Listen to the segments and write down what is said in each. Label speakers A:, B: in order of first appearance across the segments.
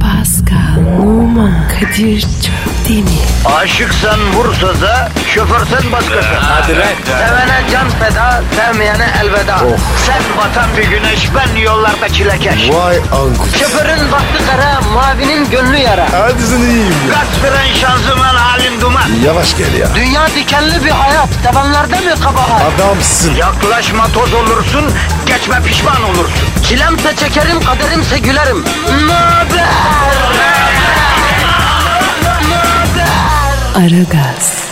A: Pascal, Oman, Kadir çok değil mi?
B: Aşıksan vursa da şoförsen başkasın. Hadi
C: lan.
B: Sevene can feda, sevmeyene elveda. Sen batan bir güneş, ben yollarda çilekeş.
C: Vay anku.
B: Şoförün baktı kara, mavinin gönlü yara.
C: Hadi sen iyiyim ya.
B: Kasperen şanzıman halin duman.
C: Yavaş gel ya.
B: Dünya dikenli bir hayat, sevenlerde mi kabahar?
C: Adamsın.
B: Yaklaşma toz olursun, geçme pişman olursun. Çilemse çekerim, kaderimse gülerim. Möber!
A: Aragaz,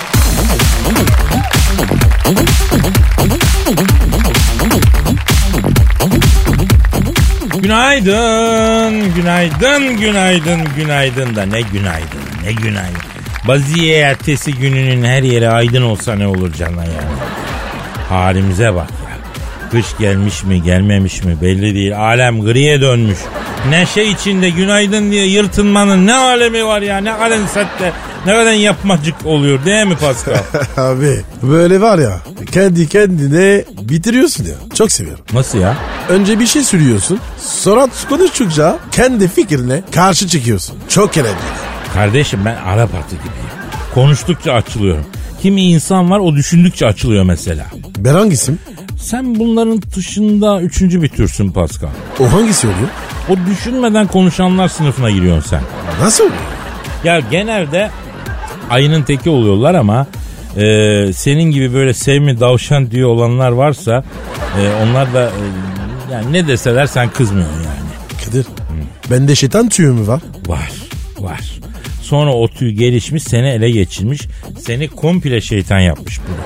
D: Günaydın, günaydın, günaydın, günaydın da ne günaydın, ne günaydın. Baziye ertesi gününün her yeri aydın olsa ne olur cana yani. Halimize bak ya. Kış gelmiş mi gelmemiş mi belli değil. Alem griye dönmüş. Neşe içinde günaydın diye yırtınmanın ne alemi var ya ne alem sette. Ne kadar yapmacık oluyor değil mi Pascal?
C: Abi böyle var ya kendi kendine bitiriyorsun ya. Çok seviyorum.
D: Nasıl ya?
C: Önce bir şey sürüyorsun. Sonra konuştukça kendi fikrine karşı çıkıyorsun. Çok önemli.
D: Kardeşim ben Arap atı gibiyim. Konuştukça açılıyorum. Kimi insan var o düşündükçe açılıyor mesela.
C: Ben hangisim?
D: Sen bunların dışında üçüncü bir türsün Pascal.
C: O hangisi oluyor?
D: O düşünmeden konuşanlar sınıfına giriyorsun sen.
C: Nasıl oluyor?
D: Ya genelde ayının teki oluyorlar ama e, senin gibi böyle sevmi davşan diyor olanlar varsa e, onlar da e, yani ne deseler sen kızmıyorsun yani.
C: Kadir. Bende şeytan tüyü mü var?
D: Var, var. Sonra o tüy gelişmiş, seni ele geçirmiş. Seni komple şeytan yapmış bunu.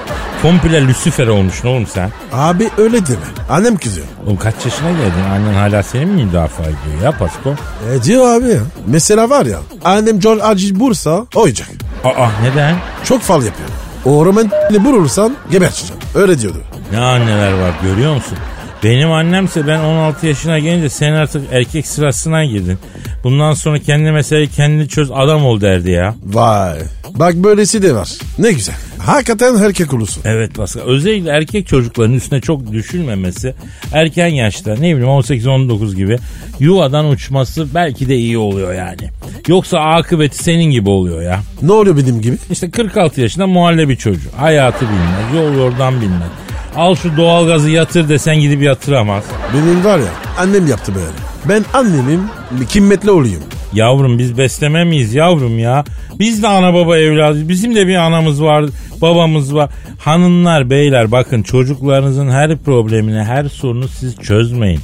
D: Komple Lucifer olmuşsun oğlum sen.
C: Abi öyle deme. Annem kızıyor.
D: Oğlum kaç yaşına geldin? Annen hala seni mi müdafaa ediyor ya Pasko?
C: E diyor abi ya. Mesela var ya. Annem George Acil Bursa oyacak.
D: Aa neden?
C: Çok fal yapıyor. O romantikli vurursan geberteceğim. Öyle diyordu.
D: Ne anneler var görüyor musun? Benim annemse ben 16 yaşına gelince sen artık erkek sırasına girdin. Bundan sonra kendi meseleyi kendini çöz adam ol derdi ya.
C: Vay. Bak böylesi de var. Ne güzel. Hakikaten erkek ulusu.
D: Evet Pascal. Özellikle erkek çocukların üstüne çok düşülmemesi erken yaşta ne bileyim 18-19 gibi yuvadan uçması belki de iyi oluyor yani. Yoksa akıbeti senin gibi oluyor ya.
C: Ne oluyor benim gibi?
D: İşte 46 yaşında muhallebi çocuğu. Hayatı bilmez. Yol yordan bilmez. Al şu doğalgazı yatır desen gidip yatıramaz.
C: Benim var ya annem yaptı böyle. Ben annemin kimmetli olayım.
D: Yavrum biz besleme miyiz yavrum ya? Biz de ana baba evladıyız. Bizim de bir anamız var, babamız var. Hanımlar, beyler bakın çocuklarınızın her problemini, her sorunu siz çözmeyin.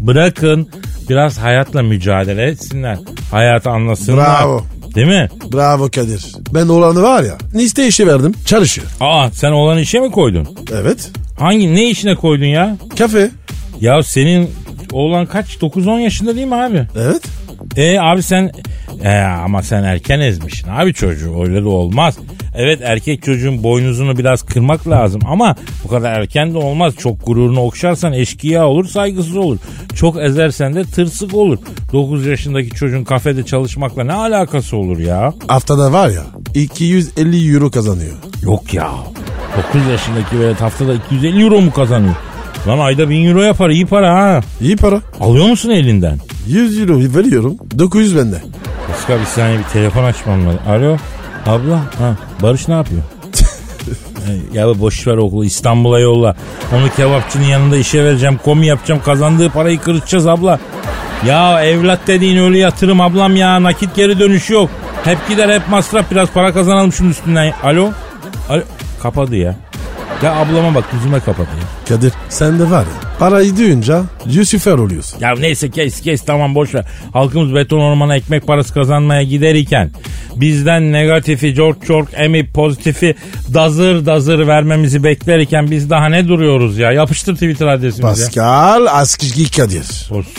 D: Bırakın biraz hayatla mücadele etsinler. Hayatı anlasınlar.
C: Bravo.
D: Değil mi?
C: Bravo Kadir. Ben olanı var ya liste işi verdim. Çalışıyor.
D: Aa sen olan işe mi koydun?
C: Evet.
D: Hangi ne işine koydun ya?
C: Kafe.
D: Ya senin oğlan kaç? 9-10 yaşında değil mi abi?
C: Evet.
D: E abi sen e, ama sen erken ezmişsin abi çocuğu öyle de olmaz. Evet erkek çocuğun boynuzunu biraz kırmak lazım ama bu kadar erken de olmaz. Çok gururunu okşarsan eşkıya olur saygısız olur. Çok ezersen de tırsık olur. 9 yaşındaki çocuğun kafede çalışmakla ne alakası olur ya?
C: Haftada var ya 250 euro kazanıyor.
D: Yok ya 9 yaşındaki böyle haftada 250 euro mu kazanıyor? Lan ayda 1000 euro yapar iyi para ha.
C: İyi para.
D: Alıyor musun elinden?
C: 100 euro veriyorum. 900 bende.
D: Pascal bir saniye bir telefon açmam lazım. Alo abla ha, Barış ne yapıyor? E, ya boş ver okulu İstanbul'a yolla. Onu kebapçının yanında işe vereceğim komi yapacağım kazandığı parayı kırıtacağız abla. Ya evlat dediğin öyle yatırım ablam ya nakit geri dönüşü yok. Hep gider hep masraf biraz para kazanalım şunun üstünden. Alo? Alo? Kapadı ya. Ya ablama bak yüzüme kapadı ya.
C: Kadir sen de var ya parayı duyunca Lucifer oluyorsun.
D: Ya neyse kes kes tamam boş ver. Halkımız beton ormana ekmek parası kazanmaya gider iken bizden negatifi cork cork emi pozitifi dazır dazır vermemizi bekler iken biz daha ne duruyoruz ya? Yapıştır Twitter adresimize.
C: Pascal Askizgi Kadir.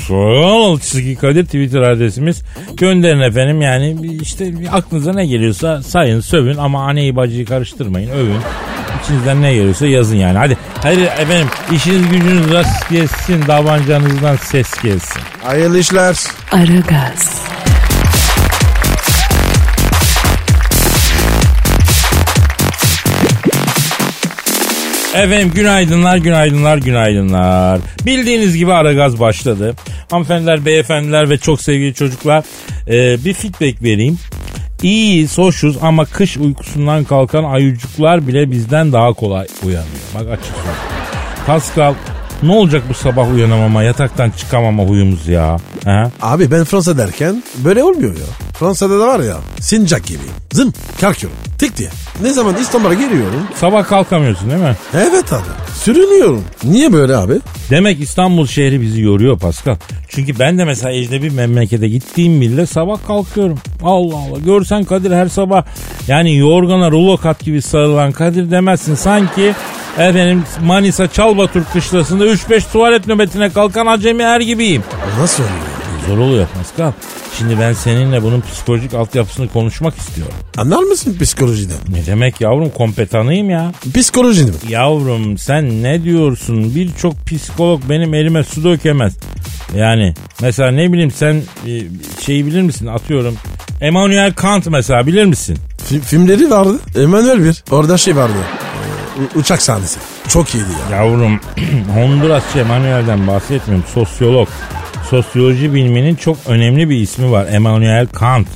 D: Sol çizgi Kadir Twitter adresimiz. Gönderin efendim yani işte aklınıza ne geliyorsa sayın sövün ama aneyi bacıyı karıştırmayın övün. İçinizden ne geliyorsa yazın yani. Hadi hadi efendim işiniz gücünüz rast gelsin davancanızdan ses gelsin.
C: Hayırlı işler.
A: Aragaz,
D: Efendim günaydınlar, günaydınlar, günaydınlar. Bildiğiniz gibi Aragaz başladı. Hanımefendiler, beyefendiler ve çok sevgili çocuklar e, bir feedback vereyim. İyiyiz, hoşuz ama kış uykusundan kalkan ayıcıklar bile bizden daha kolay uyanıyor. Bak açık söyleyeyim. Pascal ne olacak bu sabah uyanamama, yataktan çıkamama huyumuz ya? Ha?
C: Abi ben Fransa derken böyle olmuyor ya. Fransa'da da var ya sincak gibi. Zım kalkıyorum tık diye. Ne zaman İstanbul'a geliyorum.
D: Sabah kalkamıyorsun değil mi?
C: Evet abi sürünüyorum. Niye böyle abi?
D: Demek İstanbul şehri bizi yoruyor Pascal. Çünkü ben de mesela ecnebi memlekete gittiğim bile sabah kalkıyorum. Allah Allah görsen Kadir her sabah yani yorgana rulo kat gibi sarılan Kadir demezsin. Sanki efendim Manisa Çalbatürk kışlasında 3-5 tuvalet nöbetine kalkan acemi er gibiyim.
C: Nasıl oluyor? ya?
D: Zor oluyor Pascal. Şimdi ben seninle bunun psikolojik altyapısını konuşmak istiyorum.
C: Anlar mısın psikolojiden?
D: Ne demek yavrum kompetanıyım ya.
C: Psikolojiden mi?
D: Yavrum sen ne diyorsun? Birçok psikolog benim elime su dökemez. Yani mesela ne bileyim sen e, şeyi bilir misin? Atıyorum Immanuel Kant mesela bilir misin?
C: Fi- filmleri vardı. Emanuel bir. Orada şey vardı. Ee, u- uçak sahnesi. Çok iyiydi ya.
D: Yavrum Honduras Emanuel'den bahsetmiyorum. Sosyolog. Sosyoloji biliminin çok önemli bir ismi var. Immanuel Kant.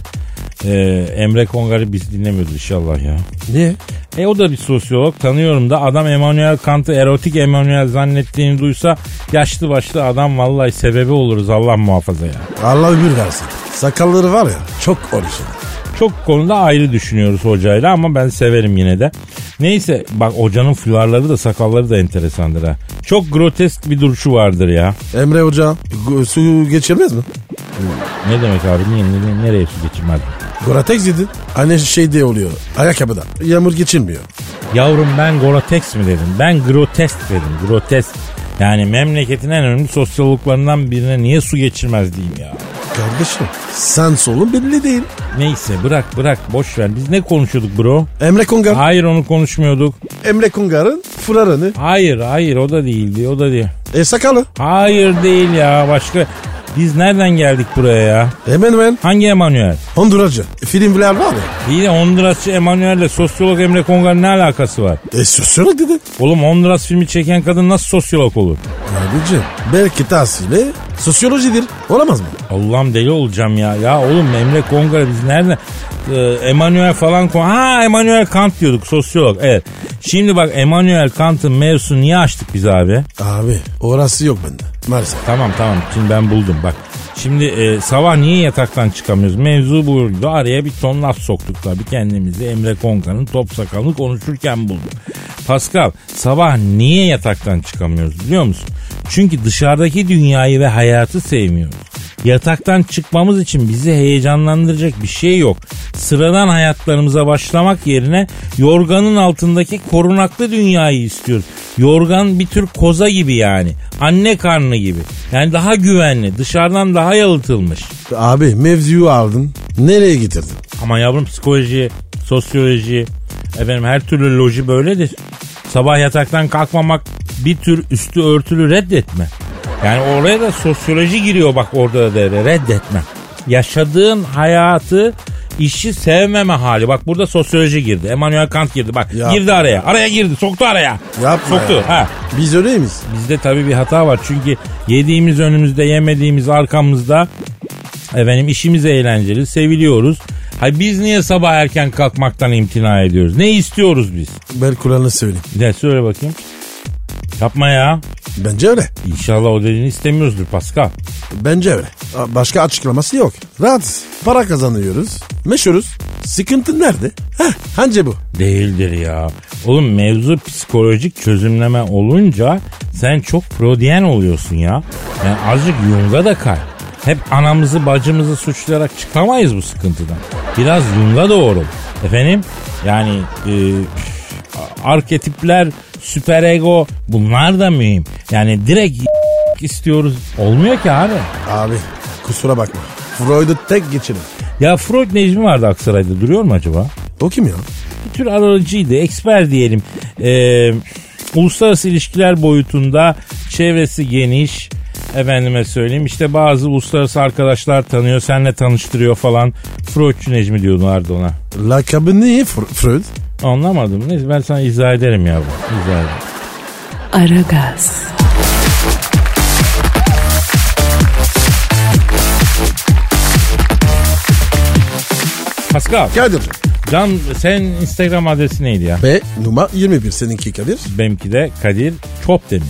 D: E, Emre Kongar'ı biz dinlemiyoruz inşallah ya.
C: Niye?
D: E o da bir sosyolog tanıyorum da adam Emmanuel Kant'ı erotik Emmanuel zannettiğini duysa yaşlı başlı adam vallahi sebebi oluruz Allah muhafaza ya.
C: Allah ömür versin. Sakalları var ya çok orijinal.
D: Çok konuda ayrı düşünüyoruz hocayla ama ben severim yine de. Neyse bak hocanın fularları da sakalları da enteresandır ha. Çok grotesk bir duruşu vardır ya.
C: Emre Hoca gu- su geçirmez mi?
D: Ne demek abi niye, niye- nereye su geçirmez?
C: Goratex yedin. Hani şey diye oluyor. Ayakkabıda. Yağmur geçirmiyor.
D: Yavrum ben Gorotex mi dedim? Ben grotesk dedim grotesk. Yani memleketin en önemli sosyologlarından birine niye su geçirmez diyeyim ya.
C: Kardeşim sen solun belli değil.
D: Neyse bırak bırak boş ver. Biz ne konuşuyorduk bro?
C: Emre Kongar.
D: Hayır onu konuşmuyorduk.
C: Emre Kongar'ın fırarını.
D: Hayır hayır o da değildi o da değil.
C: E sakalı.
D: Hayır değil ya başka. Biz nereden geldik buraya ya?
C: Hemen hemen
D: Hangi Emanuel?
C: Honduracı. E, Filmler var ya.
D: İyi de Hondurasçı Emanuel'le sosyolog Emre Kongar'ın ne alakası var?
C: E sosyolog dedi.
D: Oğlum Honduras filmi çeken kadın nasıl sosyolog olur?
C: Abicim belki tahsili sosyolojidir. Olamaz mı?
D: Allah'ım deli olacağım ya. Ya oğlum Emre Kongar biz nereden? Ee, Emanuel falan kon- Ha Emanuel Kant diyorduk sosyolog. Evet. Şimdi bak Emanuel Kant'ın mevzusunu niye açtık biz abi?
C: Abi orası yok bende maalesef.
D: Tamam tamam şimdi ben buldum bak. Şimdi e, sabah niye yataktan çıkamıyoruz? Mevzu buydu. Araya bir ton laf soktuk tabii kendimizi. Emre Konka'nın top sakalını konuşurken buldum. Pascal sabah niye yataktan çıkamıyoruz biliyor musun? Çünkü dışarıdaki dünyayı ve hayatı sevmiyoruz. Yataktan çıkmamız için bizi heyecanlandıracak bir şey yok. Sıradan hayatlarımıza başlamak yerine yorganın altındaki korunaklı dünyayı istiyoruz. Yorgan bir tür koza gibi yani. Anne karnı gibi. Yani daha güvenli, dışarıdan daha yalıtılmış.
C: Abi mevzuyu aldın. Nereye getirdin?
D: Ama yavrum psikoloji, sosyoloji, efendim her türlü loji böyledir. Sabah yataktan kalkmamak bir tür üstü örtülü reddetme. Yani oraya da sosyoloji giriyor bak orada da devre reddetme. Yaşadığın hayatı işi sevmeme hali. Bak burada sosyoloji girdi. Emmanuel Kant girdi. Bak
C: Ya.
D: girdi araya. Araya girdi. Soktu araya.
C: Yapma
D: Soktu.
C: ya.
D: Ha.
C: Biz öyle miyiz?
D: Bizde tabii bir hata var. Çünkü yediğimiz önümüzde, yemediğimiz arkamızda. Efendim işimiz eğlenceli, seviliyoruz. Hay biz niye sabah erken kalkmaktan imtina ediyoruz? Ne istiyoruz biz?
C: Ben kulağını söyleyeyim.
D: Bir de söyle bakayım. Yapma ya.
C: Bence öyle.
D: İnşallah o dediğini istemiyoruzdur Pascal.
C: Bence öyle. A- Başka açıklaması yok. Rahat. Para kazanıyoruz. Meşhuruz. Sıkıntı nerede? Heh, hence bu.
D: Değildir ya. Oğlum mevzu psikolojik çözümleme olunca sen çok Freudian oluyorsun ya. Yani azıcık Jung'a da kay. Hep anamızı bacımızı suçlayarak çıkamayız bu sıkıntıdan. Biraz Jung'a doğru. Efendim yani e, püf, arketipler, süperego bunlar da mühim. Yani direkt istiyoruz. Olmuyor ki abi.
C: Abi kusura bakma. Freud'u tek geçirin.
D: Ya Freud Necmi vardı Aksaray'da duruyor mu acaba?
C: O kim ya?
D: bir tür aracıydı. Eksper diyelim. Ee, uluslararası ilişkiler boyutunda çevresi geniş. Efendime söyleyeyim işte bazı uluslararası arkadaşlar tanıyor. Seninle tanıştırıyor falan. Freudçu Necmi diyorlardı ona.
C: Lakabı niye Fr- Freud?
D: Anlamadım. Neyse ben sana izah ederim yavrum. İzah ederim.
A: Aragaz,
D: Pascal.
C: Kadir.
D: Can senin Instagram adresi neydi ya?
C: Ve numara 21 seninki Kadir.
D: Benimki de Kadir Çopdemir.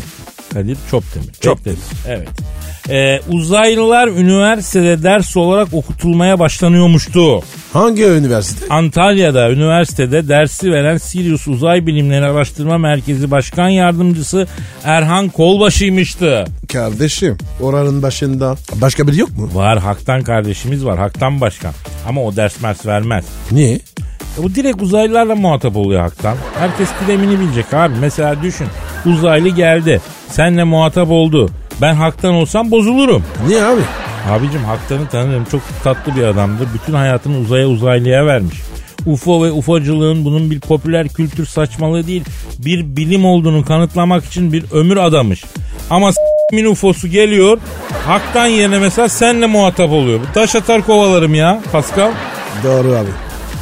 D: Kadir Çopdemir.
C: Çopdemir.
D: Evet. Ee, uzaylılar üniversitede ders olarak okutulmaya başlanıyormuştu.
C: Hangi üniversite?
D: Antalya'da üniversitede dersi veren Sirius Uzay Bilimleri Araştırma Merkezi Başkan Yardımcısı Erhan Kolbaşı'ymıştı.
C: Kardeşim oranın başında. Başka biri yok mu?
D: Var Haktan kardeşimiz var. Haktan Başkan. Ama o ders mers vermez.
C: Niye?
D: E Bu direkt uzaylılarla muhatap oluyor haktan. Herkes kıdemini bilecek abi. Mesela düşün uzaylı geldi. Senle muhatap oldu. Ben haktan olsam bozulurum.
C: Niye abi?
D: Abicim haktanı tanırım. Çok tatlı bir adamdır. Bütün hayatını uzaya uzaylıya vermiş. UFO ve UFO'cılığın bunun bir popüler kültür saçmalığı değil, bir bilim olduğunu kanıtlamak için bir ömür adamış. Ama s**min UFO'su geliyor, haktan yerine mesela senle muhatap oluyor. Bu taş atar kovalarım ya Pascal.
C: Doğru abi.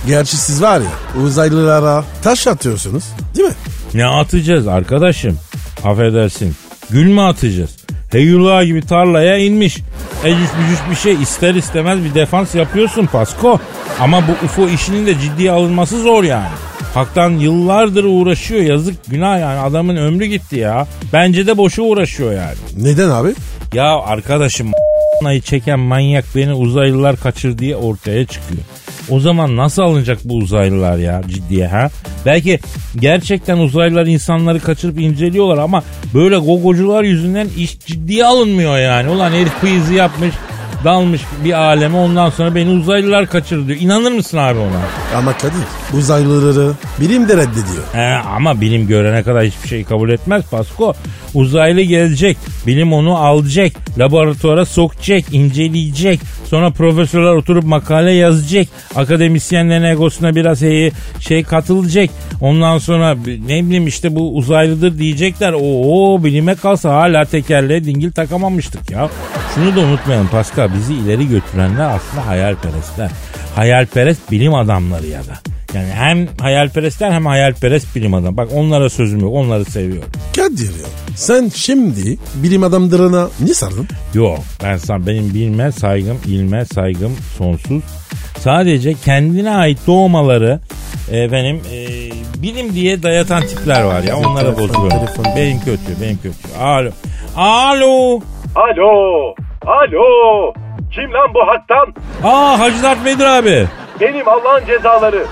C: Gerçi siz var ya uzaylılara taş atıyorsunuz değil mi?
D: Ne atacağız arkadaşım? Affedersin. Gül mü atacağız? Heyula gibi tarlaya inmiş. Ecüş bücüş bir şey ister istemez bir defans yapıyorsun Pasko. Ama bu UFO işinin de ciddiye alınması zor yani. Haktan yıllardır uğraşıyor yazık günah yani adamın ömrü gitti ya. Bence de boşu uğraşıyor yani.
C: Neden abi?
D: Ya arkadaşım ayı çeken manyak beni uzaylılar kaçır diye ortaya çıkıyor. O zaman nasıl alınacak bu uzaylılar ya ciddiye ha? Belki gerçekten uzaylılar insanları kaçırıp inceliyorlar ama böyle gogocular yüzünden iş ciddiye alınmıyor yani. Ulan herif quiz'i yapmış dalmış bir aleme ondan sonra beni uzaylılar kaçırdı diyor. İnanır mısın abi ona?
C: Ama Kadir uzaylıları bilim de reddediyor.
D: He, ama bilim görene kadar hiçbir şey kabul etmez Pasko. Uzaylı gelecek, bilim onu alacak, laboratuvara sokacak, inceleyecek. Sonra profesörler oturup makale yazacak. Akademisyenlerin egosuna biraz şey, şey katılacak. Ondan sonra bi- ne bileyim işte bu uzaylıdır diyecekler. Oo bilime kalsa hala tekerleğe dingil takamamıştık ya. Şunu da unutmayalım Pascal bizi ileri götürenler aslında hayalperestler. Hayalperest bilim adamları ya da. Yani hem hayalperestler hem hayalperest bilim adamı. Bak onlara sözüm yok. Onları seviyorum.
C: Kadir ya sen şimdi bilim adamlarına ne sardın?
D: Yok ben sana benim bilme saygım, ilme saygım sonsuz. Sadece kendine ait doğmaları e, benim bilim diye dayatan tipler var ya onlara
C: Telefon,
D: bozuyorum.
C: telefon.
D: Benim kötü, benim kötü. Alo. Alo.
E: Alo, alo. Kim lan bu hattan?
D: Aa Hacı Dert Vedir abi.
E: Benim Allah'ın cezaları.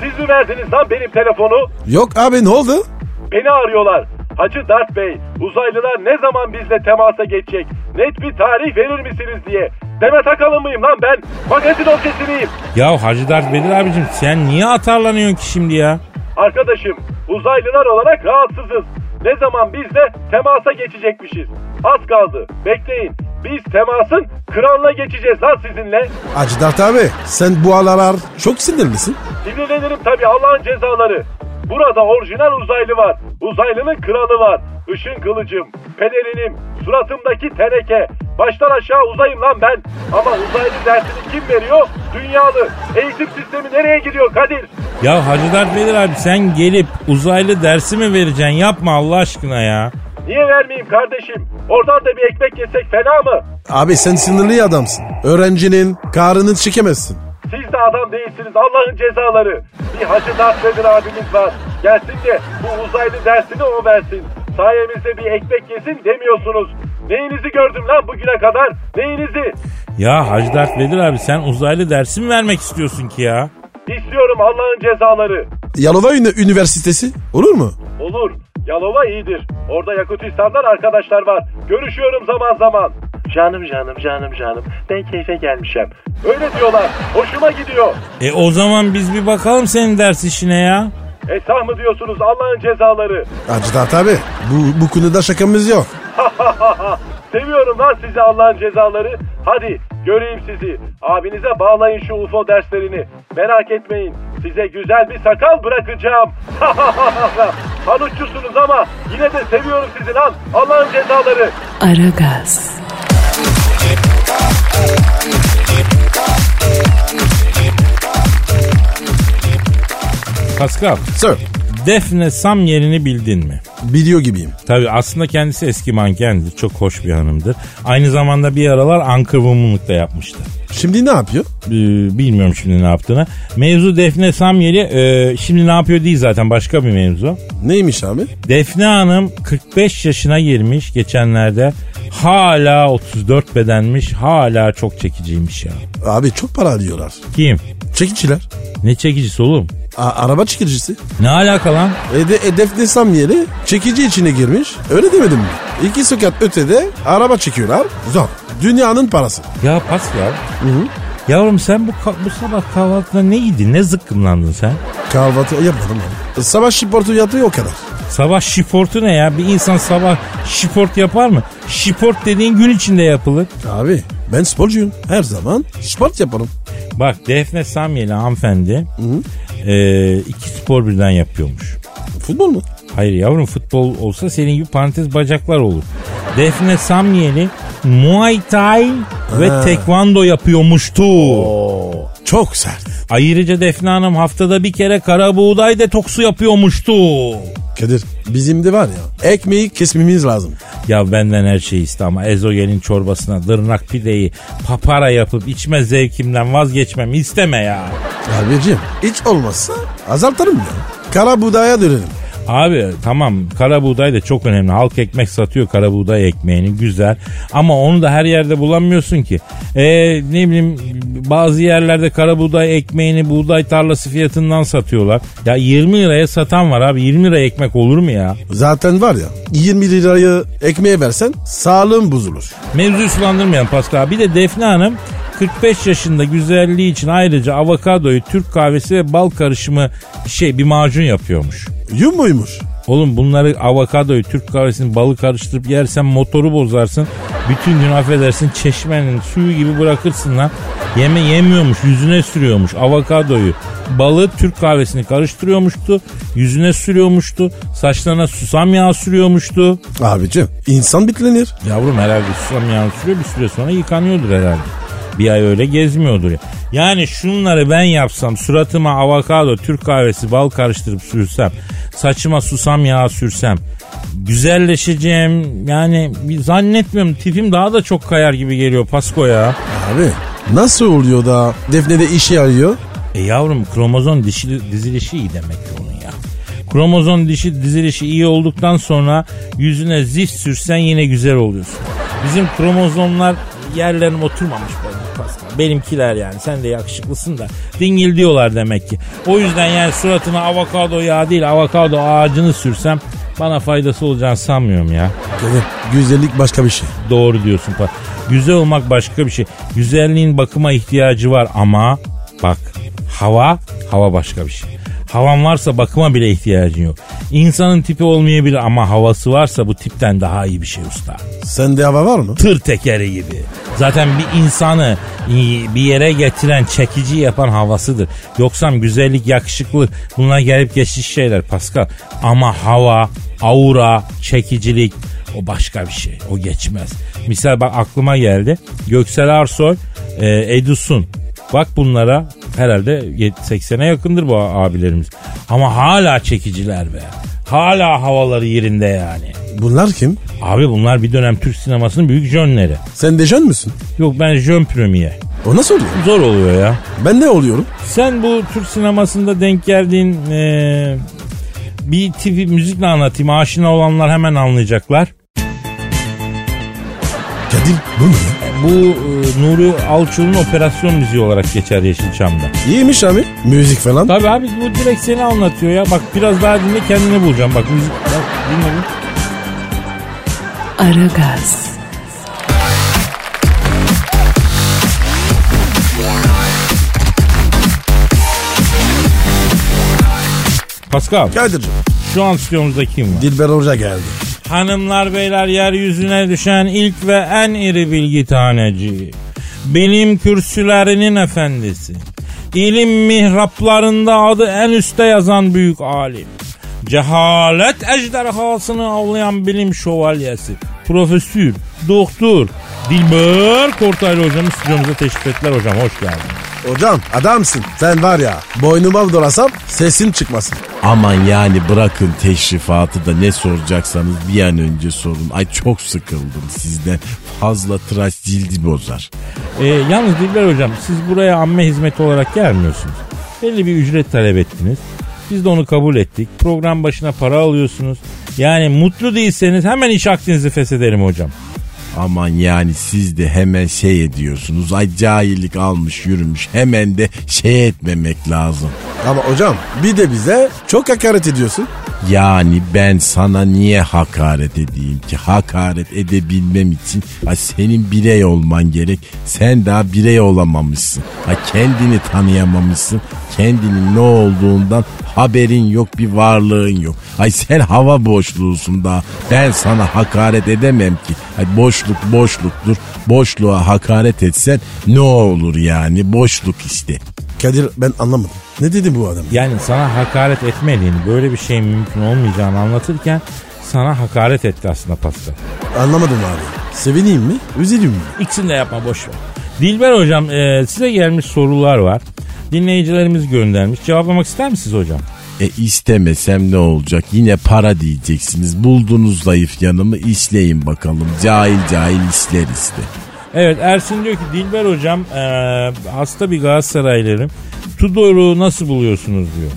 E: Siz mi verdiniz lan benim telefonu?
C: Yok abi ne oldu?
E: Beni arıyorlar. Hacı Dert Bey, uzaylılar ne zaman bizle temasa geçecek? Net bir tarih verir misiniz diye. Demet Akalın mıyım lan ben? Magazin orkestriyim.
D: Ya Hacı Dert Vedir abicim sen niye atarlanıyorsun ki şimdi ya?
E: Arkadaşım, uzaylılar olarak rahatsızız. Ne zaman bizle temasa geçecekmişiz? Az kaldı. Bekleyin. Biz temasın kralına geçeceğiz lan sizinle.
C: Hacı Dert abi sen bu aralar çok sinirlisin.
E: Sinirlenirim tabii Allah'ın cezaları. Burada orijinal uzaylı var. Uzaylının kralı var. Işın kılıcım, pederinim, suratımdaki teneke. Baştan aşağı uzayım lan ben. Ama uzaylı dersini kim veriyor? Dünyalı. Eğitim sistemi nereye gidiyor Kadir?
D: Ya Hacı Dert Vedir abi sen gelip uzaylı dersi mi vereceksin? Yapma Allah aşkına ya.
E: Niye vermeyeyim kardeşim? Oradan da bir ekmek yesek fena mı?
C: Abi sen sinirli adamsın. Öğrencinin karını çekemezsin.
E: Siz de adam değilsiniz Allah'ın cezaları. Bir Hacı Dert Vedir abimiz var. Gelsin de bu uzaylı dersini o versin. Sayemizde bir ekmek yesin demiyorsunuz. Neyinizi gördüm lan bugüne kadar? Neyinizi?
D: Ya Hacı Dert Vedir abi sen uzaylı dersi mi vermek istiyorsun ki ya?
E: İstiyorum Allah'ın cezaları.
C: Yalova Ünü- Üniversitesi olur mu?
E: Olur. Yalova iyidir. Orada Yakutistan'dan arkadaşlar var. Görüşüyorum zaman zaman. Canım canım canım canım. Ben keyfe gelmişim. Öyle diyorlar. Hoşuma gidiyor.
D: E o zaman biz bir bakalım senin ders işine ya.
E: Esah mı diyorsunuz Allah'ın cezaları?
C: Hacı Dert abi bu, bu konuda şakamız yok.
E: Seviyorum lan sizi Allah'ın cezaları. Hadi göreyim sizi. Abinize bağlayın şu UFO derslerini. Merak etmeyin. Size güzel bir sakal bırakacağım. Hanutçusunuz ama yine de seviyorum sizi lan. Allah'ın cezaları.
A: Aragaz,
D: Pascal
C: Sir
D: Defne Sam yerini bildin mi?
C: Biliyor gibiyim.
D: Tabii aslında kendisi eski mankendir. Çok hoş bir hanımdır. Aynı zamanda bir aralar Anker Woman'lık da yapmıştı.
C: Şimdi ne yapıyor?
D: Ee, bilmiyorum şimdi ne yaptığını. Mevzu Defne Samyeli e, şimdi ne yapıyor değil zaten başka bir mevzu.
C: Neymiş abi?
D: Defne Hanım 45 yaşına girmiş geçenlerde. Hala 34 bedenmiş. Hala çok çekiciymiş ya.
C: Abi çok para alıyorlar.
D: Kim?
C: Çekiciler.
D: Ne çekicisi oğlum?
C: A- araba çekicisi.
D: Ne alaka lan?
C: E de, Edef desem yeri çekici içine girmiş. Öyle demedim mi? İki sokak ötede araba çekiyorlar. Zor. Dünyanın parası.
D: Ya pas ya. Yavrum sen bu, ka- bu sabah kahvaltına ne yedin? Ne zıkkımlandın sen?
C: Kahvaltı yapmadım ben. Sabah şiportu yatıyor o kadar.
D: Sabah şiportu ne ya? Bir insan sabah şiport yapar mı? Şiport dediğin gün içinde yapılır.
C: Abi ben sporcuyum. Her zaman sport yaparım.
D: Bak Defne Samyeli hanımefendi e, iki spor birden yapıyormuş.
C: Futbol mu?
D: Hayır yavrum futbol olsa senin gibi parantez bacaklar olur. Defne Samyeli Muay Thai ve Tekvando yapıyormuştu.
C: Oo. Çok sert.
D: Ayrıca Defne Hanım haftada bir kere kara buğday detoksu yapıyormuştu.
C: Kadir bizim de var ya ekmeği kesmemiz lazım.
D: Ya benden her şeyi iste ama ezogelin çorbasına dırnak pideyi papara yapıp içme zevkimden vazgeçmemi isteme ya.
C: Abicim hiç olmazsa azaltırım ya. Kara budaya dönerim.
D: Abi tamam kara buğday da çok önemli. Halk ekmek satıyor kara buğday ekmeğini güzel. Ama onu da her yerde bulamıyorsun ki. Ee, ne bileyim bazı yerlerde kara buğday ekmeğini buğday tarlası fiyatından satıyorlar. Ya 20 liraya satan var abi 20 liraya ekmek olur mu ya?
C: Zaten var ya 20 lirayı ekmeğe versen sağlığın bozulur.
D: Mevzu sulandırmayan Pascal. Bir de Defne Hanım 45 yaşında güzelliği için ayrıca avokadoyu Türk kahvesi ve bal karışımı bir şey bir macun yapıyormuş.
C: Yum muymuş?
D: Oğlum bunları avokadoyu Türk kahvesini balı karıştırıp yersen motoru bozarsın. Bütün gün affedersin çeşmenin suyu gibi bırakırsın lan. Yeme yemiyormuş yüzüne sürüyormuş avokadoyu. Balı Türk kahvesini karıştırıyormuştu. Yüzüne sürüyormuştu. Saçlarına susam yağı sürüyormuştu.
C: Abicim insan bitlenir.
D: Yavrum herhalde susam yağını sürüyor bir süre sonra yıkanıyordur herhalde. Bir ay öyle gezmiyordur ya. Yani şunları ben yapsam suratıma avokado, Türk kahvesi, bal karıştırıp sürsem, saçıma susam yağı sürsem güzelleşeceğim yani bir zannetmiyorum tipim daha da çok kayar gibi geliyor Pasko ya.
C: Abi nasıl oluyor da Defne de işe yarıyor?
D: E yavrum kromozom dişi, dizilişi iyi demek ki onun ya. Kromozom dişi dizilişi iyi olduktan sonra yüzüne zift sürsen yine güzel oluyorsun. Bizim kromozomlar yerlerine oturmamış benim Pascal. Benimkiler yani sen de yakışıklısın da dingil diyorlar demek ki. O yüzden yani suratına avokado yağı değil avokado ağacını sürsem bana faydası olacağını sanmıyorum ya.
C: Kadir, güzellik başka bir şey.
D: Doğru diyorsun. Pa- Güzel olmak başka bir şey. Güzelliğin bakıma ihtiyacı var ama bak hava hava başka bir şey. Havan varsa bakıma bile ihtiyacın yok. İnsanın tipi olmayabilir ama havası varsa bu tipten daha iyi bir şey usta.
C: Sende hava var mı?
D: Tır tekeri gibi. Zaten bir insanı i- bir yere getiren, çekici yapan havasıdır. Yoksa güzellik, yakışıklık bunlar gelip geçici şeyler Pascal. Ama hava, aura, çekicilik o başka bir şey. O geçmez. Misal bak aklıma geldi. Göksel Arsoy, e, Edusun. Bak bunlara herhalde yet- 80'e yakındır bu a- abilerimiz. Ama hala çekiciler be. Hala havaları yerinde yani.
C: Bunlar kim?
D: Abi bunlar bir dönem Türk sinemasının büyük jönleri.
C: Sen de jön müsün?
D: Yok ben jön premier.
C: O nasıl oluyor?
D: Zor oluyor ya.
C: Ben ne oluyorum?
D: Sen bu Türk sinemasında denk geldiğin eee, bir tipi müzikle anlatayım. Aşina olanlar hemen anlayacaklar.
C: Kadir bu ne? ya?
D: Bu eee, Nuri Alço'nun operasyon müziği olarak geçer Yeşilçam'da.
C: İyiymiş abi. Müzik falan.
D: Tabii abi bu direkt seni anlatıyor ya. Bak biraz daha dinle kendini bulacağım. Bak müzik bak, dinle bir.
A: Aragaz,
D: Pascal
C: Kadir'cim
D: şu an stüdyomuzda kim var?
C: Dilber Hoca geldi.
D: Hanımlar beyler yeryüzüne düşen ilk ve en iri bilgi taneci. Bilim kürsülerinin efendisi. İlim mihraplarında adı en üste yazan büyük alim. Cehalet ejderhasını avlayan bilim şövalyesi. Profesör, doktor, Dilber Kortaylı hocamız stüdyomuza teşrif ettiler hocam. Hoş geldiniz.
C: Hocam adamsın. Sen var ya boynuma dolasam sesim çıkmasın.
F: Aman yani bırakın teşrifatı da ne soracaksanız bir an önce sorun. Ay çok sıkıldım sizden. Fazla tıraş cildi bozar.
D: Ee, yalnız Dilber Hocam siz buraya amme hizmeti olarak gelmiyorsunuz. Belli bir ücret talep ettiniz. Biz de onu kabul ettik. Program başına para alıyorsunuz. Yani mutlu değilseniz hemen iş aktinizi feshederim hocam.
F: Aman yani siz de hemen şey ediyorsunuz. Ay cahillik almış yürümüş. Hemen de şey etmemek lazım.
C: Ama hocam bir de bize çok hakaret ediyorsun.
F: Yani ben sana niye hakaret edeyim ki? Hakaret edebilmem için ay senin birey olman gerek. Sen daha birey olamamışsın. Ha kendini tanıyamamışsın. Kendinin ne olduğundan haberin yok, bir varlığın yok. Ay sen hava boşluğusun daha. Ben sana hakaret edemem ki. Ay boşluk boşluktur. Boşluğa hakaret etsen ne olur yani? Boşluk işte.
C: Kadir ben anlamadım. Ne dedi bu adam?
D: Yani sana hakaret etmediğini, böyle bir şeyin mümkün olmayacağını anlatırken sana hakaret etti aslında Pascal.
C: Anlamadım abi. Sevineyim mi? Üzüleyim mi?
D: İkisini de yapma boş ver. Dilber hocam e, size gelmiş sorular var. Dinleyicilerimiz göndermiş. Cevaplamak ister misiniz hocam?
F: E istemesem ne olacak? Yine para diyeceksiniz. Buldunuz zayıf yanımı işleyin bakalım. Cahil cahil işler işte.
D: Evet Ersin diyor ki Dilber hocam e, hasta bir Galatasaraylıyım. Tudor'u nasıl buluyorsunuz diyor.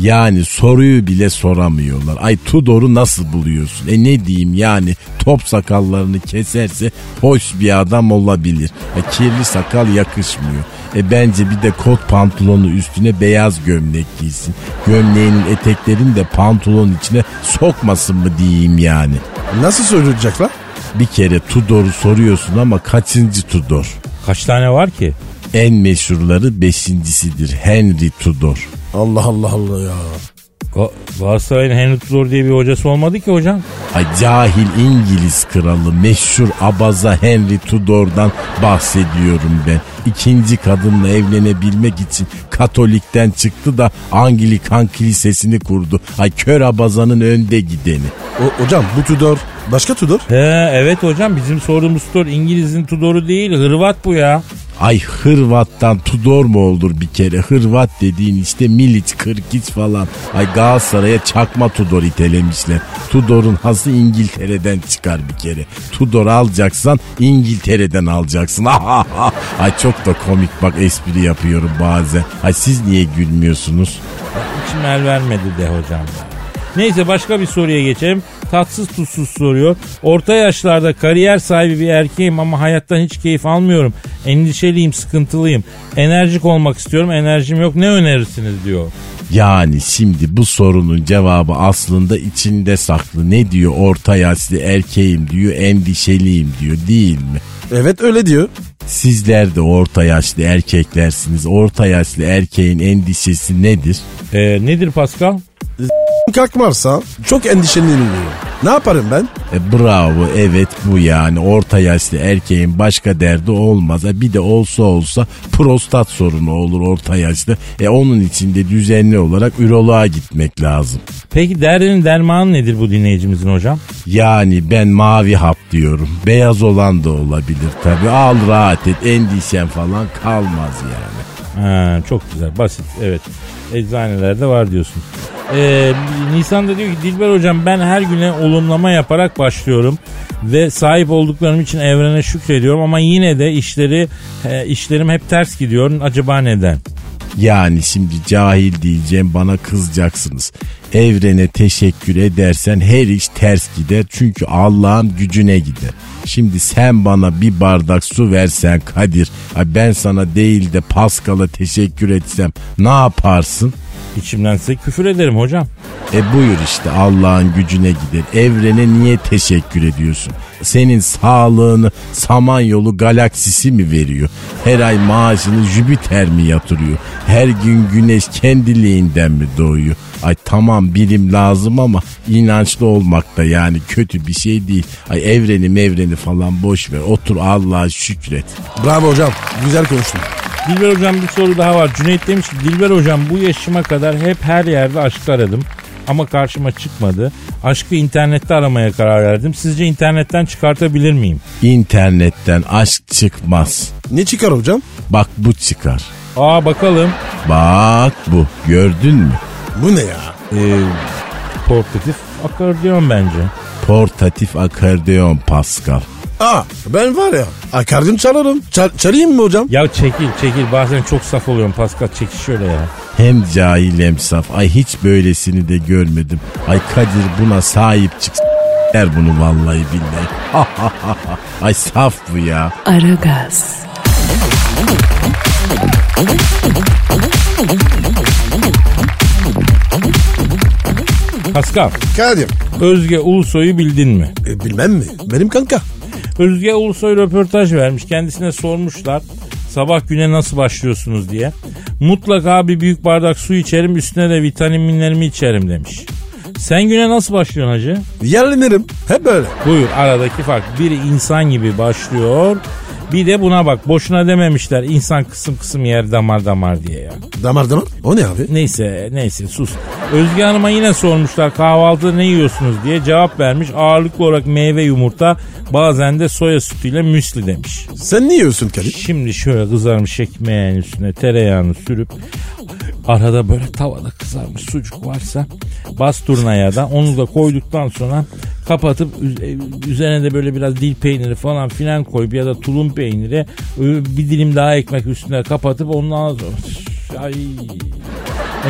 F: Yani soruyu bile soramıyorlar. Ay Tudor'u nasıl buluyorsun? E ne diyeyim yani top sakallarını keserse hoş bir adam olabilir. E kirli sakal yakışmıyor. E bence bir de kot pantolonu üstüne beyaz gömlek giysin. Gömleğinin eteklerini de pantolonun içine sokmasın mı diyeyim yani.
C: Nasıl söyleyecekler?
F: Bir kere Tudor'u soruyorsun ama kaçıncı Tudor?
D: Kaç tane var ki?
F: En meşhurları beşincisidir Henry Tudor.
C: Allah Allah Allah ya.
D: Ga- Galatasaray'ın Henry Tudor diye bir hocası olmadı ki hocam.
F: Ay cahil İngiliz kralı meşhur abaza Henry Tudor'dan bahsediyorum ben. İkinci kadınla evlenebilmek için Katolik'ten çıktı da Anglikan kilisesini kurdu. Ay kör abazanın önde gideni.
C: O, hocam bu Tudor başka Tudor.
D: He evet hocam bizim sorduğumuz Tudor İngiliz'in Tudor'u değil Hırvat bu ya.
F: Ay Hırvat'tan Tudor mu olur bir kere? Hırvat dediğin işte Milic, Kırkiç falan. Ay Galatasaray'a çakma Tudor itelemişler. Tudor'un hası İngiltere'den çıkar bir kere. Tudor alacaksan İngiltere'den alacaksın. Ay çok da komik bak espri yapıyorum bazen. Ay siz niye gülmüyorsunuz?
D: İçim el vermedi de hocam. ya. Neyse başka bir soruya geçelim. Tatsız tutsuz soruyor. Orta yaşlarda kariyer sahibi bir erkeğim ama hayattan hiç keyif almıyorum. Endişeliyim, sıkıntılıyım. Enerjik olmak istiyorum, enerjim yok. Ne önerirsiniz diyor.
F: Yani şimdi bu sorunun cevabı aslında içinde saklı. Ne diyor orta yaşlı erkeğim diyor endişeliyim diyor değil mi?
C: Evet öyle diyor.
F: Sizler de orta yaşlı erkeklersiniz. Orta yaşlı erkeğin endişesi nedir?
D: Ee, nedir Pascal?
C: Kalkmarsa çok endişelenirim diyor. Ne yaparım ben?
F: E, bravo evet bu yani. Orta yaşlı erkeğin başka derdi olmaz. E, bir de olsa olsa prostat sorunu olur orta yaşlı. E onun için de düzenli olarak üroloğa gitmek lazım.
D: Peki derdinin dermanı nedir bu dinleyicimizin hocam?
F: Yani ben mavi hap diyorum. Beyaz olan da olabilir tabii. Al rahat et endişen falan kalmaz yani.
D: Ha, çok güzel basit evet. Eczanelerde var diyorsun. Ee, Nisan'da diyor ki Dilber hocam ben her güne olumlama yaparak başlıyorum ve sahip olduklarım için evrene şükrediyorum ama yine de işleri e, işlerim hep ters gidiyor. Acaba neden?
F: Yani şimdi cahil diyeceğim bana kızacaksınız. Evrene teşekkür edersen her iş ters gider çünkü Allah'ın gücüne gider. Şimdi sen bana bir bardak su versen Kadir, ay ben sana değil de Paskal'a teşekkür etsem ne yaparsın?
D: İçimden size küfür ederim hocam.
F: E buyur işte Allah'ın gücüne gider. Evrene niye teşekkür ediyorsun? Senin sağlığını Samanyolu galaksisi mi veriyor? Her ay maaşını Jüpiter mi yatırıyor? Her gün güneş kendiliğinden mi doğuyor? Ay tamam bilim lazım ama inançlı olmak da yani kötü bir şey değil. Ay evreni mevreni falan boş ver. Otur Allah'a şükret.
C: Bravo hocam. Güzel konuştun.
D: Dilber hocam bir soru daha var. Cüneyt demiş ki Dilber hocam bu yaşıma kadar hep her yerde aşk aradım. ama karşıma çıkmadı. Aşkı internette aramaya karar verdim. Sizce internetten çıkartabilir miyim?
F: İnternetten aşk çıkmaz.
C: Ne çıkar hocam?
F: Bak bu çıkar.
D: Aa bakalım.
F: Bak bu gördün mü?
C: Bu ne ya?
D: Ee, portatif akordeon bence.
F: Portatif akordeon Pascal.
C: Aa ben var ya akardım çalarım. Çal- çalayım mı hocam?
D: Ya çekil çekil bazen çok saf oluyorum Pascal çekil şöyle ya.
F: Hem cahil hem saf. Ay hiç böylesini de görmedim. Ay Kadir buna sahip çık. Der bunu vallahi billahi. Ay saf bu ya.
A: Aragaz,
D: Pascal
C: Kadir.
D: Özge Ulusoy'u bildin mi?
C: E, bilmem mi? Benim kanka.
D: Özge Ulusoy röportaj vermiş. Kendisine sormuşlar sabah güne nasıl başlıyorsunuz diye. Mutlaka bir büyük bardak su içerim üstüne de vitaminlerimi içerim demiş. Sen güne nasıl başlıyorsun hacı?
C: Yerlenirim. Hep böyle.
D: Buyur aradaki fark. Biri insan gibi başlıyor. Bir de buna bak boşuna dememişler insan kısım kısım yer damar damar diye ya.
C: Damar damar. O ne abi?
D: Neyse neyse sus. Özge Hanım'a yine sormuşlar kahvaltıda ne yiyorsunuz diye cevap vermiş. Ağırlıklı olarak meyve yumurta bazen de soya sütüyle müsli demiş.
C: Sen ne yiyorsun Kadir?
D: Şimdi şöyle kızarmış ekmeğin üstüne tereyağını sürüp arada böyle tavada kızarmış sucuk varsa basturnaya da onu da koyduktan sonra kapatıp üz- e, üzerine de böyle biraz dil peyniri falan filan koyup ya da tulum peyniri ö, bir dilim daha ekmek üstüne kapatıp ondan sonra ay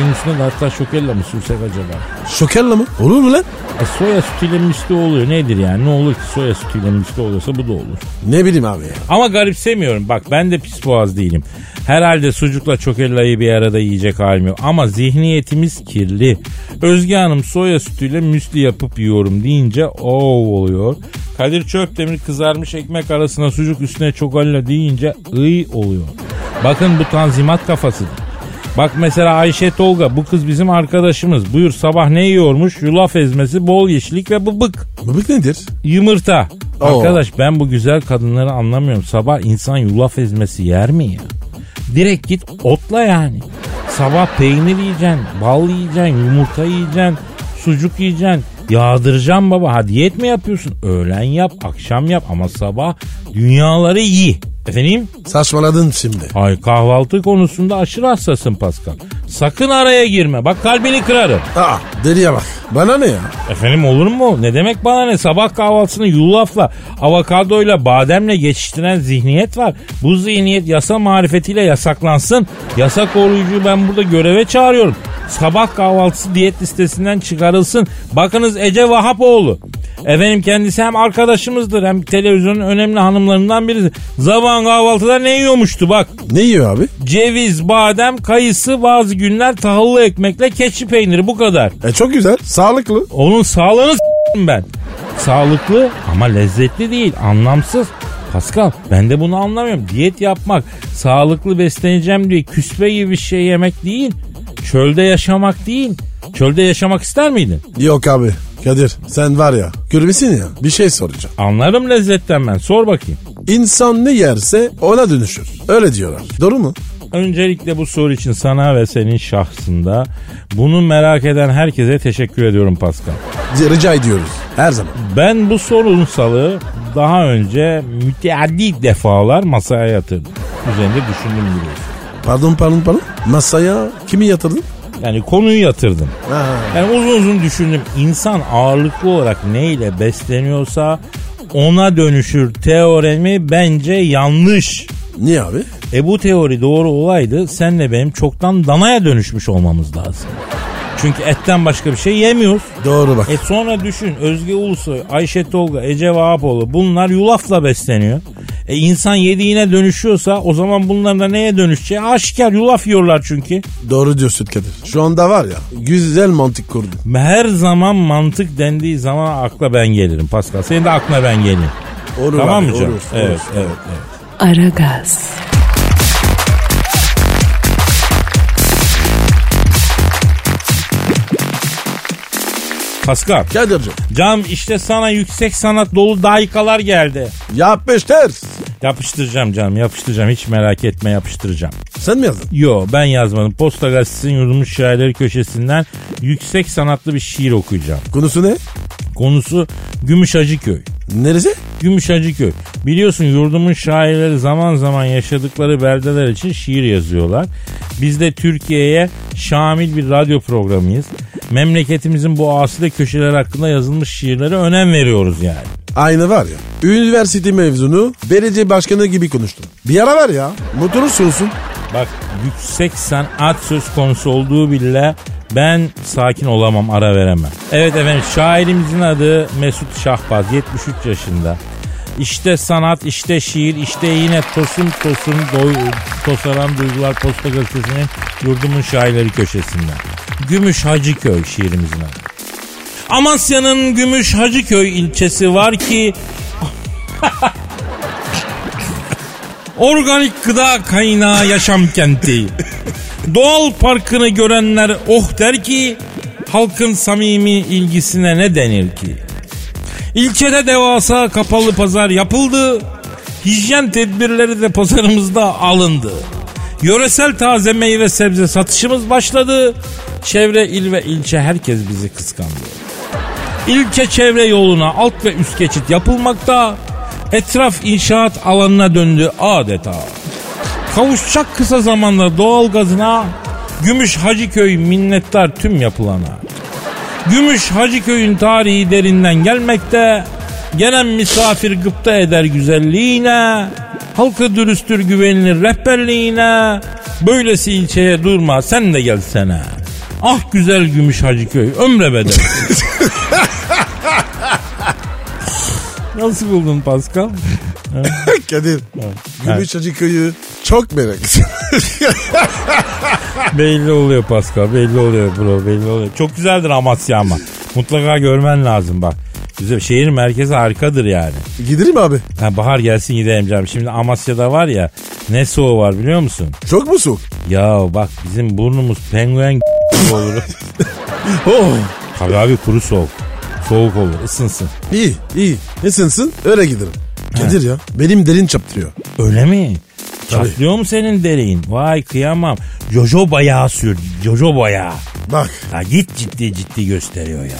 D: en üstüne de hatta şokella mı sürsek acaba?
C: Şokerla mı? Olur mu lan?
D: E, soya sütüyle müsli oluyor nedir yani? Ne olur ki soya sütüyle müsli oluyorsa bu da olur.
C: Ne bileyim abi ya.
D: Ama garipsemiyorum. Bak ben de pis boğaz değilim. Herhalde sucukla çokellayı bir arada yiyecek halim yok. Ama zihniyetimiz kirli. Özge Hanım soya sütüyle müsli yapıp yiyorum deyince o oluyor. Kadir Çöpdemir kızarmış ekmek arasına sucuk üstüne çokalla deyince ıy oluyor. Bakın bu tanzimat kafasıdır. Bak mesela Ayşe Tolga bu kız bizim arkadaşımız. Buyur sabah ne yiyormuş? Yulaf ezmesi, bol yeşillik ve bıbık.
C: Bıbık nedir?
D: Yumurta.
C: Oo.
D: Arkadaş ben bu güzel kadınları anlamıyorum. Sabah insan yulaf ezmesi yer mi ya? Direkt git otla yani. Sabah peynir yiyeceksin, bal yiyeceksin, yumurta yiyeceksin, sucuk yiyeceksin. Yağdıracaksın baba. Ha diyet mi yapıyorsun? Öğlen yap, akşam yap ama sabah dünyaları yi. Efendim?
C: Saçmaladın şimdi.
D: Ay kahvaltı konusunda aşırı hassasın Pascal. Sakın araya girme. Bak kalbini kırarım.
C: Aa deliye bak. Bana ne ya?
D: Efendim olur mu? Ne demek bana ne? Sabah kahvaltısını yulafla, avokadoyla, bademle geçiştiren zihniyet var. Bu zihniyet yasa marifetiyle yasaklansın. Yasa koruyucuyu ben burada göreve çağırıyorum. Sabah kahvaltısı diyet listesinden çıkarılsın. Bakınız Ece Vahapoğlu. Efendim kendisi hem arkadaşımızdır hem televizyonun önemli hanımlarından birisi. Zaman kahvaltıda ne yiyormuştu bak.
C: Ne yiyor abi?
D: Ceviz, badem, kayısı, bazı günler tahıllı ekmekle keçi peyniri bu kadar.
C: E çok güzel. Sağlıklı.
D: Onun sağlığını s**tim ben. Sağlıklı ama lezzetli değil, anlamsız. Pascal ben de bunu anlamıyorum. Diyet yapmak, sağlıklı besleneceğim diye küspe gibi bir şey yemek değil. Çölde yaşamak değil. Çölde yaşamak ister miydin?
C: Yok abi. Kadir sen var ya. Görmesin ya. Bir şey soracağım.
D: Anlarım lezzetten ben. Sor bakayım.
C: İnsan ne yerse ona dönüşür. Öyle diyorlar. Doğru mu?
D: Öncelikle bu soru için sana ve senin şahsında bunu merak eden herkese teşekkür ediyorum Pascal.
C: Rica ediyoruz. Her zaman.
D: Ben bu sorunun salı daha önce müteaddi defalar masaya yatırdım. Üzerinde düşündüm biliyorsun.
C: Pardon pardon pardon. Masaya kimi yatırdın?
D: Yani konuyu yatırdım.
C: Ha.
D: Yani uzun uzun düşündüm. İnsan ağırlıklı olarak neyle besleniyorsa ona dönüşür teoremi bence yanlış.
C: Niye abi?
D: E bu teori doğru olaydı senle benim çoktan danaya dönüşmüş olmamız lazım. Çünkü etten başka bir şey yemiyoruz.
C: Doğru bak.
D: E sonra düşün Özge Ulusoy, Ayşe Tolga, Ece Vahapoğlu bunlar yulafla besleniyor. E insan yediğine dönüşüyorsa o zaman bunların da neye dönüşeceği aşikar yulaf yiyorlar çünkü.
C: Doğru diyorsun Kadir. Şu anda var ya güzel mantık kurdun.
D: Her zaman mantık dendiği zaman akla ben gelirim Pascal. Senin de aklına ben gelirim.
C: Olur
D: tamam
C: abi,
D: mı canım?
C: Olur,
D: evet,
C: olur.
D: evet, evet.
A: Aragaz,
D: Pascal,
C: Kadir'cim
D: cam işte sana yüksek sanat dolu daykalar geldi.
C: yapmıştır.
D: Yapıştıracağım canım yapıştıracağım hiç merak etme yapıştıracağım.
C: Sen mi yazdın?
D: Yo ben yazmadım. Posta Gazetesi'nin yurdumuz şairleri köşesinden yüksek sanatlı bir şiir okuyacağım.
C: Konusu ne?
D: Konusu Gümüş Acıköy.
C: Neresi?
D: Gümüş Acıköy. Biliyorsun yurdumun şairleri zaman zaman yaşadıkları beldeler için şiir yazıyorlar. Biz de Türkiye'ye şamil bir radyo programıyız. Memleketimizin bu asile köşeler hakkında yazılmış şiirlere önem veriyoruz yani.
C: Aynı var ya. Üniversite mezunu belediye başkanı gibi konuştum. Bir ara ver ya. Motoru soğusun.
D: Bak yüksek sanat söz konusu olduğu bile ben sakin olamam ara veremem. Evet efendim şairimizin adı Mesut Şahbaz 73 yaşında. İşte sanat, işte şiir, işte yine tosun tosun doy, tosaran duygular posta gazetesinin yurdumun şairleri köşesinden. Gümüş Hacıköy şiirimizin adı. Amasya'nın Gümüş Hacıköy ilçesi var ki Organik gıda kaynağı yaşam kenti. Doğal parkını görenler oh der ki halkın samimi ilgisine ne denir ki? İlçede devasa kapalı pazar yapıldı. Hijyen tedbirleri de pazarımızda alındı. Yöresel taze meyve sebze satışımız başladı. Çevre il ve ilçe herkes bizi kıskandı. İlçe çevre yoluna alt ve üst geçit yapılmakta. Etraf inşaat alanına döndü adeta. Kavuşacak kısa zamanda doğalgazına Gümüş Hacıköy minnettar tüm yapılana. Gümüş Hacıköy'ün tarihi derinden gelmekte. Gelen misafir gıpta eder güzelliğine. Halkı dürüsttür güvenilir rehberliğine. Böylesi ilçeye durma sen de gelsene. Ah güzel Gümüş Hacıköy ömre bedel. Nasıl buldun Pascal?
C: Kadir. Gümüşacı köyü çok merak
D: belli oluyor Pascal belli oluyor bro belli oluyor. Çok güzeldir Amasya ama. Mutlaka görmen lazım bak. Güzel, şehir merkezi harikadır yani.
C: Gidelim abi.
D: Ha, bahar gelsin gidelim canım. Şimdi Amasya'da var ya ne soğuğu var biliyor musun?
C: Çok mu soğuk?
D: Ya bak bizim burnumuz penguen gibi olur.
C: Oh.
D: Tabii abi kuru soğuk. Soğuk olur ısınsın.
C: İyi iyi. Isınsın öyle giderim. Kadir ya benim derin çaptırıyor.
D: Öyle mi?
C: Tabii.
D: Çatlıyor mu senin derin? Vay kıyamam. Jojo bayağı sür. Jojo bayağı.
C: Bak
D: Ya git ciddi ciddi gösteriyor ya.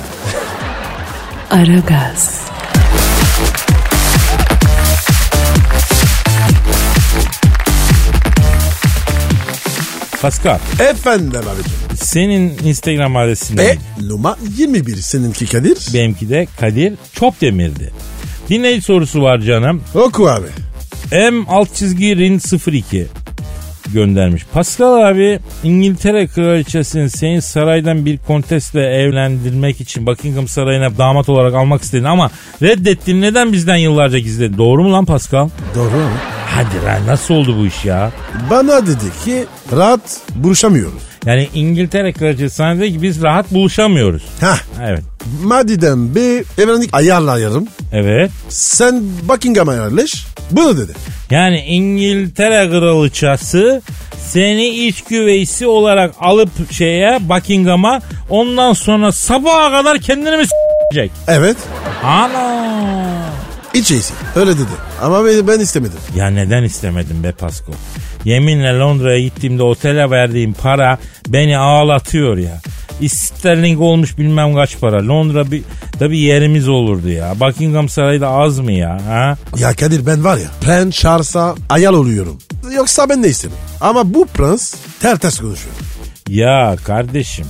A: Aragaz,
D: Pascal
C: efendim abicim.
D: senin Instagram adresin
C: E
D: neydi?
C: numara 21 seninki Kadir.
D: benimki de Kadir Çopdemir'di. Dinleyici sorusu var canım.
C: Oku abi.
D: M alt çizgi Rin 02 göndermiş. Pascal abi İngiltere kraliçesini senin saraydan bir kontesle evlendirmek için Buckingham Sarayı'na damat olarak almak istedin ama reddettin neden bizden yıllarca gizledin? Doğru mu lan Pascal?
C: Doğru mu?
D: Hadi lan nasıl oldu bu iş ya?
C: Bana dedi ki rahat buluşamıyoruz.
D: Yani İngiltere kraliçesi sana dedi ki biz rahat buluşamıyoruz.
C: Ha
D: Evet.
C: madiden bir evrenlik ayarlayalım.
D: Evet.
C: Sen Buckingham'a yerleş. Bunu dedi.
D: Yani İngiltere kraliçesi seni iç güveysi olarak alıp şeye Buckingham'a ondan sonra sabaha kadar kendini mi s***cek?
C: Evet.
D: Ana.
C: İç iyisi. Öyle dedi. Ama ben, ben istemedim.
D: Ya neden istemedim be Pasko? Yeminle Londra'ya gittiğimde otele verdiğim para beni ağlatıyor ya. Sterling olmuş bilmem kaç para. Londra bir, da bir yerimiz olurdu ya. Buckingham Sarayı da az mı ya? Ha?
C: Ya Kadir ben var ya. Prens Charles'a ayar oluyorum. Yoksa ben de isterim. Ama bu prens ters konuşuyor.
D: Ya kardeşim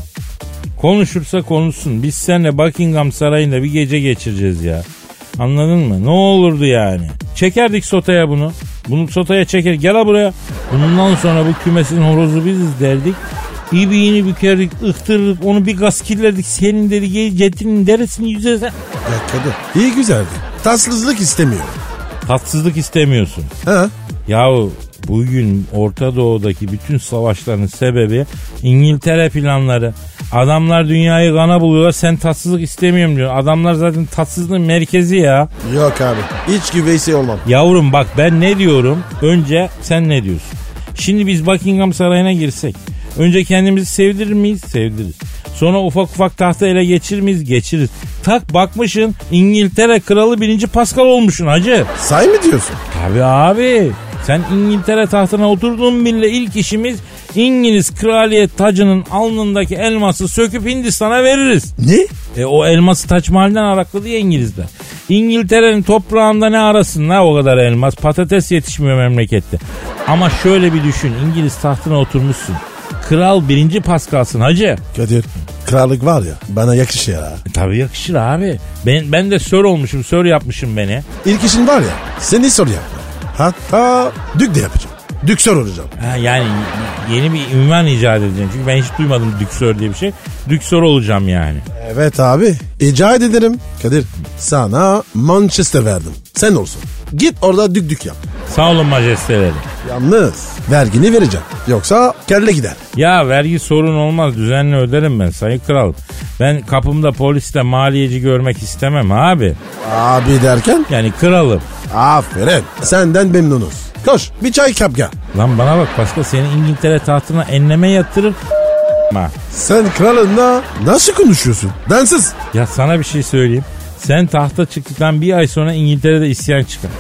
D: konuşursa konuşsun. Biz seninle Buckingham Sarayı'nda bir gece geçireceğiz ya. Anladın mı? Ne olurdu yani? Çekerdik sotaya bunu. Bunu sotaya çeker. Gel ha buraya. Bundan sonra bu kümesin horozu biziz derdik. İbiğini bükerdik, ıhtırırdık, onu bir gaz kirlerdik. Senin dedi gel cetinin derisini yüzersen.
C: Ya Kadir iyi güzeldi. Tatsızlık istemiyor.
D: Tatsızlık istemiyorsun.
C: Ha?
D: Yahu bugün Orta Doğu'daki bütün savaşların sebebi İngiltere planları. Adamlar dünyayı kana buluyorlar sen tatsızlık istemiyorum diyor. Adamlar zaten tatsızlığın merkezi ya.
C: Yok abi. Hiç güveysi olmam.
D: Yavrum bak ben ne diyorum önce sen ne diyorsun? Şimdi biz Buckingham Sarayı'na girsek önce kendimizi sevdirir miyiz? Sevdiririz. Sonra ufak ufak tahta ele geçirir miyiz? Geçiririz. tak bakmışın İngiltere kralı birinci Pascal olmuşsun hacı.
C: Say mı diyorsun?
D: Tabi abi. Sen İngiltere tahtına oturduğun bile ilk işimiz İngiliz kraliyet tacının alnındaki elması söküp Hindistan'a veririz.
C: Ne?
D: E, o elması Taç Mahal'den arakladı ya İngilizler. İngiltere'nin toprağında ne arasın la o kadar elmas. Patates yetişmiyor memlekette. Ama şöyle bir düşün. İngiliz tahtına oturmuşsun. Kral birinci Paskal'sın hacı.
C: Kadir krallık var ya bana yakışır ya.
D: E, tabii yakışır abi. Ben, ben de sör olmuşum. Sör yapmışım beni.
C: İlk işin var ya seni sor yap. Hatta dük de yapacağım. Düksör olacağım.
D: Ha, yani yeni bir ünvan icat edeceğim. Çünkü ben hiç duymadım düksör diye bir şey. Düksör olacağım yani.
C: Evet abi icat ederim. Kadir sana Manchester verdim. Sen olsun. Git orada dük dük yap.
D: Sağ olun majesteleri.
C: Yalnız vergini vereceğim. Yoksa kelle gider.
D: Ya vergi sorun olmaz düzenli öderim ben sayın kral. Ben kapımda polisle maliyeci görmek istemem abi.
C: Abi derken
D: Yani kralım.
C: aferin. Senden memnunuz. Koş bir çay kap gel.
D: Lan bana bak başka senin İngiltere tahtına enleme yatırır. Ha.
C: Sen kralınla nasıl konuşuyorsun? Densiz.
D: Ya sana bir şey söyleyeyim. Sen tahta çıktıktan bir ay sonra İngiltere'de isyan çıkar.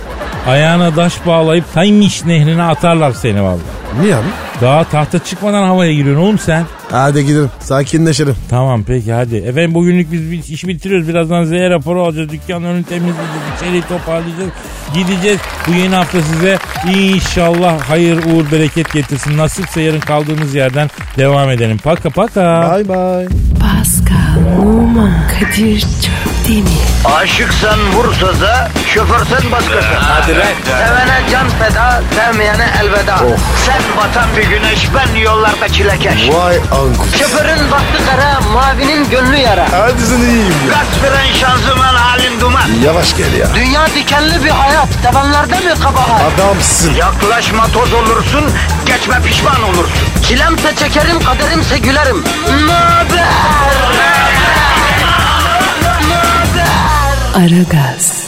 D: Ayağına daş bağlayıp Taymiş nehrine atarlar seni vallahi.
C: Niye abi?
D: Daha tahta çıkmadan havaya giriyorsun oğlum sen.
C: Hadi gidelim sakinleşelim.
D: Tamam peki hadi. Efendim bugünlük biz bir işi bitiriyoruz. Birazdan Z raporu alacağız. Dükkanın önünü temizleyeceğiz. İçeriği toparlayacağız. Gideceğiz. Bu yeni hafta size inşallah hayır uğur bereket getirsin. Nasipse yarın kaldığımız yerden devam edelim. Paka paka.
C: Bay bay.
A: Pascal, Oman, Kadir çok değil mi?
B: Aşıksan vursa da, şoförsen başkasın. Hadi Sevene can feda, sevmeyene elveda. Sen batan bir güneş, ben yollarda çilekeş.
C: Vay anku.
B: Şoförün baktı kara, mavinin gönlü yara.
C: Hadi sen iyiyim ya.
B: Kasperen şanzıman halin duman.
C: Yavaş gel ya.
B: Dünya dikenli bir hayat, sevenlerde mi kabahar?
C: Adamsın.
B: Yaklaşma toz olursun, geçme pişman olursun. Çilemse çekerim, kaderimse gülerim. Hmm. Möber!
A: Aragaz.